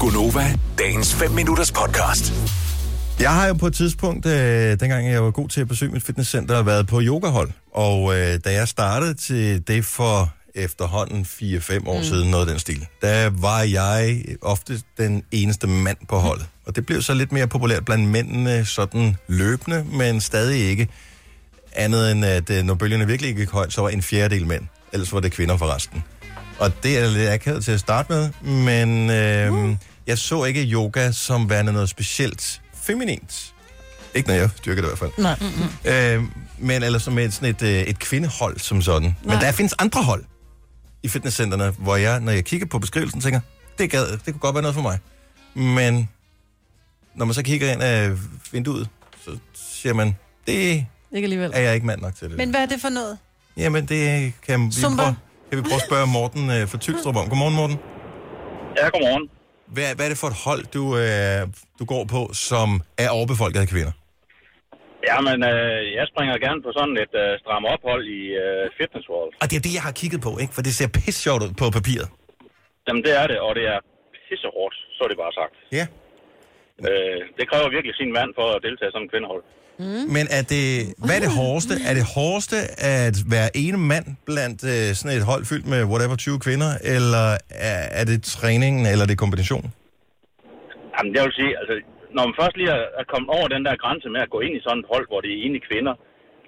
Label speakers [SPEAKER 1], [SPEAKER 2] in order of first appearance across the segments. [SPEAKER 1] Gunova, dagens 5 minutters podcast.
[SPEAKER 2] Jeg har jo på et tidspunkt, øh, dengang jeg var god til at besøge mit fitnesscenter, været på yogahold. Og øh, da jeg startede til det for efterhånden 4-5 år mm. siden, noget af den stil, der var jeg ofte den eneste mand på holdet. Og det blev så lidt mere populært blandt mændene, sådan løbende, men stadig ikke. Andet end, at øh, når bølgerne virkelig ikke gik højt, så var en fjerdedel mænd. Ellers var det kvinder for resten. Og det er lidt akavet til at starte med, men øh,
[SPEAKER 3] Uh.
[SPEAKER 2] mm. jeg så ikke yoga som værende noget specielt feminint. Ikke når jeg dyrker det i hvert fald.
[SPEAKER 4] Nej.
[SPEAKER 2] Øh, men eller som et, sådan et, øh, et kvindehold som sådan. Nej. Men
[SPEAKER 4] Nej.
[SPEAKER 2] der findes andre hold i fitnesscenterne, hvor jeg, når jeg kigger på beskrivelsen, tænker, det, gad, det kunne godt være noget for mig. Men når man så kigger ind af vinduet, så siger man, det
[SPEAKER 4] Ikke alligevel.
[SPEAKER 2] er jeg ikke mand nok til det.
[SPEAKER 3] Men hvad er det for noget?
[SPEAKER 2] Jamen, det kan vi,
[SPEAKER 3] Zumba.
[SPEAKER 2] prøve, kan vi prøve at spørge Morten øh, fra Tylstrup om. Godmorgen, Morten.
[SPEAKER 5] Ja, godmorgen.
[SPEAKER 2] Hvad, hvad er det for et hold, du, øh, du går på, som er overbefolket af kvinder?
[SPEAKER 5] Jamen, øh, jeg springer gerne på sådan et øh, stram ophold i øh, Fitness World.
[SPEAKER 2] Og det er det, jeg har kigget på, ikke? For det ser pisse sjovt ud på papiret.
[SPEAKER 5] Jamen, det er det, og det er pissehårdt, så er det bare sagt.
[SPEAKER 2] Ja.
[SPEAKER 5] Øh, det kræver virkelig sin mand for at deltage som kvindehold.
[SPEAKER 2] Mm. Men er det, hvad er det hårdeste? Er det hårdeste at være ene mand blandt øh, sådan et hold fyldt med whatever 20 kvinder, eller er, er det træningen, eller er det kombinationen?
[SPEAKER 5] Jamen, jeg vil sige, altså, når man først lige er, er kommet over den der grænse med at gå ind i sådan et hold, hvor det er ene kvinder,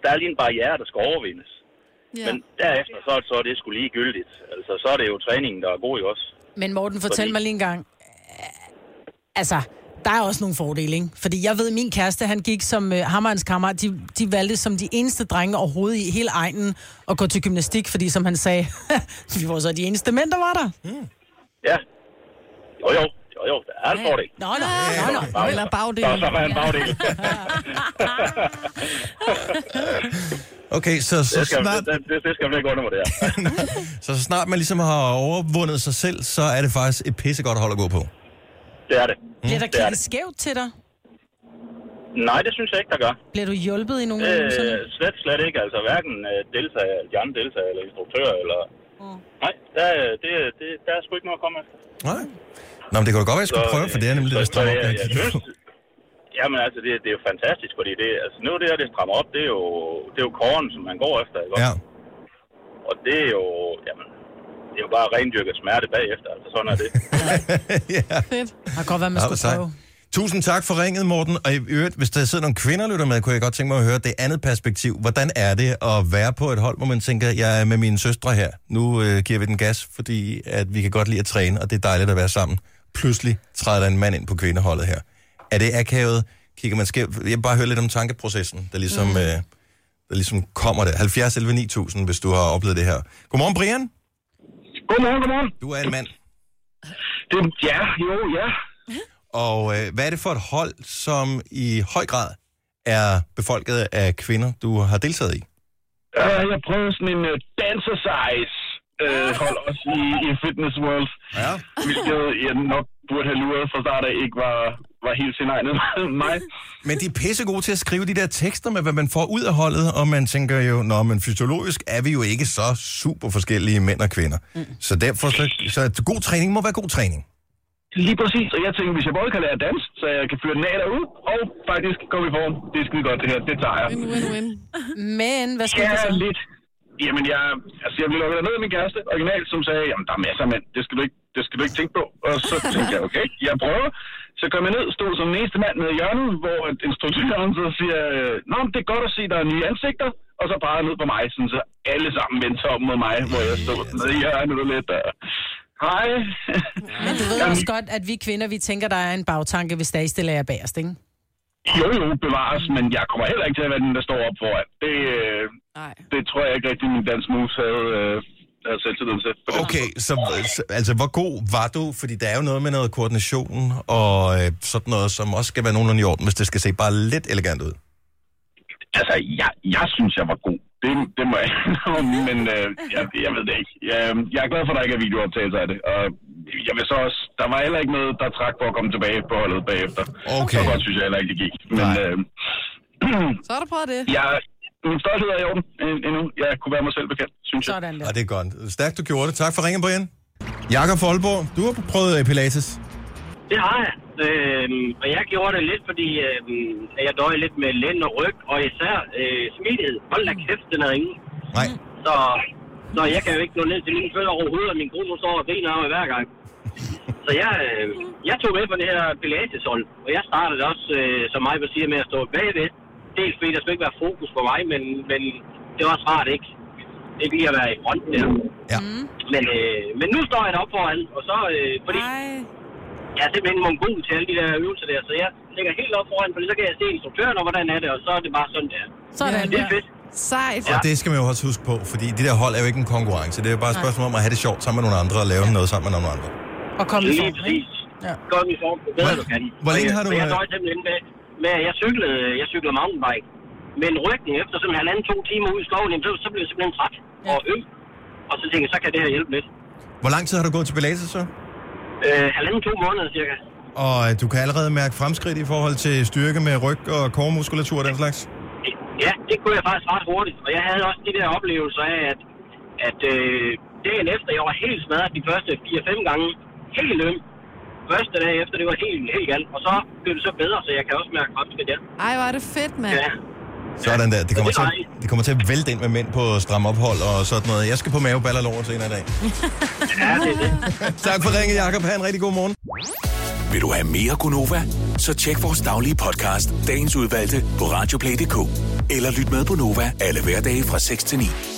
[SPEAKER 5] der er lige en barriere, der skal overvindes. Ja. Men derefter, så, så er det sgu ligegyldigt. Altså, så er det jo træningen, der er god i os.
[SPEAKER 4] Men Morten, fortæl mig lige en gang. Altså, der er også nogle fordele, ikke? Fordi jeg ved, min kæreste, han gik som øh, hammerens kammerat. De, de valgte som de eneste drenge overhovedet i hele egnen at gå til gymnastik, fordi som han sagde, vi var så de eneste mænd, der var der.
[SPEAKER 5] Ja. Jo, jo. Jo, jo. Der er en fordel.
[SPEAKER 4] Nå, nå, nå, nå.
[SPEAKER 5] Bagdel.
[SPEAKER 3] Eller bagdel.
[SPEAKER 5] Så, så var en bagdel.
[SPEAKER 2] Okay, så, så,
[SPEAKER 5] Det skal,
[SPEAKER 2] snart,
[SPEAKER 5] det, det, det skal man ikke undervurdere.
[SPEAKER 2] så snart man ligesom har overvundet sig selv, så er det faktisk et pissegodt hold at gå på.
[SPEAKER 5] Det er det.
[SPEAKER 4] Bliver der
[SPEAKER 5] det er
[SPEAKER 4] kigget
[SPEAKER 5] det.
[SPEAKER 4] skævt til dig?
[SPEAKER 5] Nej, det synes jeg ikke, der gør.
[SPEAKER 4] Bliver du hjulpet i nogle øh,
[SPEAKER 5] Øh, slet, slet ikke. Altså hverken øh, deltager, de andre deltager eller instruktører. Eller... Nej, der, øh, det, det, der er sgu ikke noget at komme efter.
[SPEAKER 2] Nej. Nå, men det kan da godt være, jeg skulle prøve, for det er nemlig
[SPEAKER 5] så-
[SPEAKER 2] det, der
[SPEAKER 5] så
[SPEAKER 2] står op,
[SPEAKER 5] jeg-
[SPEAKER 2] jeg
[SPEAKER 5] jeg
[SPEAKER 2] kigger
[SPEAKER 5] synes-
[SPEAKER 2] på.
[SPEAKER 5] Jamen altså, det, det er jo fantastisk, fordi det, altså, nu det her, det strammer op, det er jo, det er jo kåren, som man går efter. Ikke?
[SPEAKER 2] Ja.
[SPEAKER 5] Og det er jo, jamen, det er jo bare rendyrket smerte bagefter. Altså sådan er det.
[SPEAKER 2] ja.
[SPEAKER 3] Fedt.
[SPEAKER 4] Har godt været, man
[SPEAKER 2] Ja, hvor
[SPEAKER 4] skulle
[SPEAKER 2] sejt.
[SPEAKER 4] prøve.
[SPEAKER 2] Tusind tak for ringet, Morten. Og i øvrigt, hvis der sidder nogle kvinder og lytter med, kunne jeg godt tænke mig at høre det andet perspektiv. Hvordan er det at være på et hold, hvor man tænker, jeg er med mine søstre her. Nu øh, giver vi den gas, fordi at vi kan godt lide at træne, og det er dejligt at være sammen. Pludselig træder der en mand ind på kvindeholdet her. Er det akavet? Kigger man skævt? Jeg vil bare høre lidt om tankeprocessen, der ligesom, mm. øh, der ligesom kommer der. 70 11 9000, hvis du har oplevet det her. Godmorgen, Brian.
[SPEAKER 5] godmorgen, godmorgen.
[SPEAKER 2] Du er en mand.
[SPEAKER 5] Det, ja, jo, ja.
[SPEAKER 2] Og øh, hvad er det for et hold, som i høj grad er befolket af kvinder, du har deltaget i?
[SPEAKER 6] Øh, jeg prøvede sådan en uh, dancercise øh, hold også i, i Fitness World,
[SPEAKER 2] Ja.
[SPEAKER 6] hvilket jeg nok burde have luret fra start af ikke var, var helt sin egen mig.
[SPEAKER 2] Men de er pisse gode til at skrive de der tekster med, hvad man får ud af holdet, og man tænker jo, nå, men fysiologisk er vi jo ikke så super forskellige mænd og kvinder. Mm. Så derfor, så, så god træning må være god træning.
[SPEAKER 6] Lige præcis, og jeg tænkte, hvis jeg både kan lære at danse, så jeg kan føre den af derude, og faktisk komme i form. Det er skide godt det her, det tager jeg.
[SPEAKER 3] Win, win, win.
[SPEAKER 4] Men, hvad skal
[SPEAKER 6] Ja,
[SPEAKER 4] du så?
[SPEAKER 6] lidt. Jamen, jeg, altså, jeg blev lukket ned af min kæreste originalt, som sagde, jamen, der er masser af mænd, det skal du ikke, det skal du ikke tænke på. Og så tænkte jeg, okay, jeg prøver. Så kom jeg ned, stod som den eneste mand nede i hjørnet, hvor at instruktøren så siger, øh, nå, men det er godt at se, der er nye ansigter. Og så pegede han ned på mig, sådan, så alle sammen vendte sig om mod mig, hvor jeg stod nede i hjørnet og lidt. Øh, Hej.
[SPEAKER 4] Men du ved også godt, at vi kvinder, vi tænker, der er en bagtanke, hvis der er I stiller jer bagerst, ikke?
[SPEAKER 6] Jo, jo, bevares, men jeg kommer heller ikke til at være den, der står op foran. Det, øh,
[SPEAKER 3] Nej.
[SPEAKER 6] det tror jeg ikke rigtig, min dans moves havde, øh, havde selvtilliden til. på det
[SPEAKER 2] Okay, så så- altså, hvor god var du? Fordi der er jo noget med noget koordination og øh, sådan noget, som også skal være nogenlunde i orden, hvis det skal se bare lidt elegant ud.
[SPEAKER 6] Altså, jeg, jeg synes, jeg var god. Det, det må jeg indrømme, men øh, jeg, jeg ved det ikke. Jeg, jeg er glad for, at der ikke er videooptagelser af det. Og jeg vil så også, der var heller ikke noget, der trak for at komme tilbage på holdet bagefter.
[SPEAKER 2] Okay.
[SPEAKER 6] Så godt synes jeg heller ikke, det gik. Men
[SPEAKER 2] Nej.
[SPEAKER 6] øh,
[SPEAKER 3] Så har du prøvet det.
[SPEAKER 6] jeg, min stolthed er i orden end- endnu. Jeg kunne være mig selv bekendt, synes jeg.
[SPEAKER 4] Sådan der.
[SPEAKER 2] Og det er godt. Stærkt, du gjorde det. Tak for ringen, Brian. Jakob Folborg, du har prøvet øh, Pilates.
[SPEAKER 7] Det har jeg. Øhm, og jeg gjorde det lidt, fordi øhm, at jeg døjede lidt med lænd og ryg, og især øh, smidighed. Hold da kæft, den er ingen.
[SPEAKER 2] Nej.
[SPEAKER 5] Mm-hmm.
[SPEAKER 7] Så, så jeg kan jo ikke nå ned til mine fødder overhovedet, og min kone hun står og griner af mig hver gang. Så jeg, øh, jeg tog med på det her pilateshold, og jeg startede også, øh, som mig vil sige, med at stå bagved. Dels fordi der skulle ikke være fokus på mig, men, men det var også rart ikke. Ikke lige at være i front der.
[SPEAKER 2] Ja.
[SPEAKER 7] Men, øh, men nu står jeg deroppe foran, og så, øh, fordi
[SPEAKER 4] Ah.
[SPEAKER 3] Ej.
[SPEAKER 7] jeg er simpelthen mongol til alle de der øvelser der, så jeg ligger helt op foran, for så kan jeg se instruktøren og hvordan er det, og så er det bare sådan der.
[SPEAKER 4] Sådan
[SPEAKER 7] Det
[SPEAKER 4] der.
[SPEAKER 7] er fedt.
[SPEAKER 3] Sejt.
[SPEAKER 2] Og det skal man jo også huske på, fordi de der hold er jo ikke en konkurrence. Det er jo bare et spørgsmål om at have det sjovt sammen med nogle andre og lave noget sammen med nogle andre.
[SPEAKER 4] Og kom i
[SPEAKER 7] Lige
[SPEAKER 4] form, ikke?
[SPEAKER 7] præcis.
[SPEAKER 4] Ja.
[SPEAKER 7] Kom i form, jo bedre du kan.
[SPEAKER 2] hvor længe
[SPEAKER 7] Og jeg-
[SPEAKER 2] har du- øh,
[SPEAKER 7] og Jeg døjte simpelthen med, med at jeg cyklede, jeg cyklede mountainbike. Men ryggen efter sådan halvanden, to timer ude i skoven, jamen, så, så blev jeg simpelthen træt
[SPEAKER 4] Ja.
[SPEAKER 7] og øm. Og så tænkte jeg, så kan det her hjælpe lidt.
[SPEAKER 2] Hvor lang tid har du gået til Pilates så?
[SPEAKER 7] Øh, halvanden, to måneder cirka.
[SPEAKER 2] Og øh, du kan allerede mærke fremskridt i forhold til styrke med ryg og koremuskulatur og den slags?
[SPEAKER 7] Ja, det kunne jeg faktisk ret hurtigt. Og jeg havde også de der oplevelser af, at, at øh, dagen efter, jeg var helt smadret de første 4-5 gange. Helt øm. Første dag efter, det var helt, helt galt. Og så blev det så bedre, så jeg kan også mærke fremskridt der.
[SPEAKER 3] Ej, hvor er det fedt, mand.
[SPEAKER 7] Ja.
[SPEAKER 2] Sådan der. Det kommer,
[SPEAKER 7] Det
[SPEAKER 2] til,
[SPEAKER 7] er
[SPEAKER 2] at,
[SPEAKER 7] dejligt.
[SPEAKER 2] det kommer til at vælte ind med mænd på stram ophold og sådan noget. Jeg skal på maveballerlår senere i dag.
[SPEAKER 7] ja, det er det.
[SPEAKER 2] tak for ringet, Jacob. Ha' en rigtig god morgen.
[SPEAKER 1] Vil du have mere Gunova? Så tjek vores daglige podcast, dagens udvalgte, på radioplay.dk. Eller lyt med på Nova alle hverdage fra 6 til 9.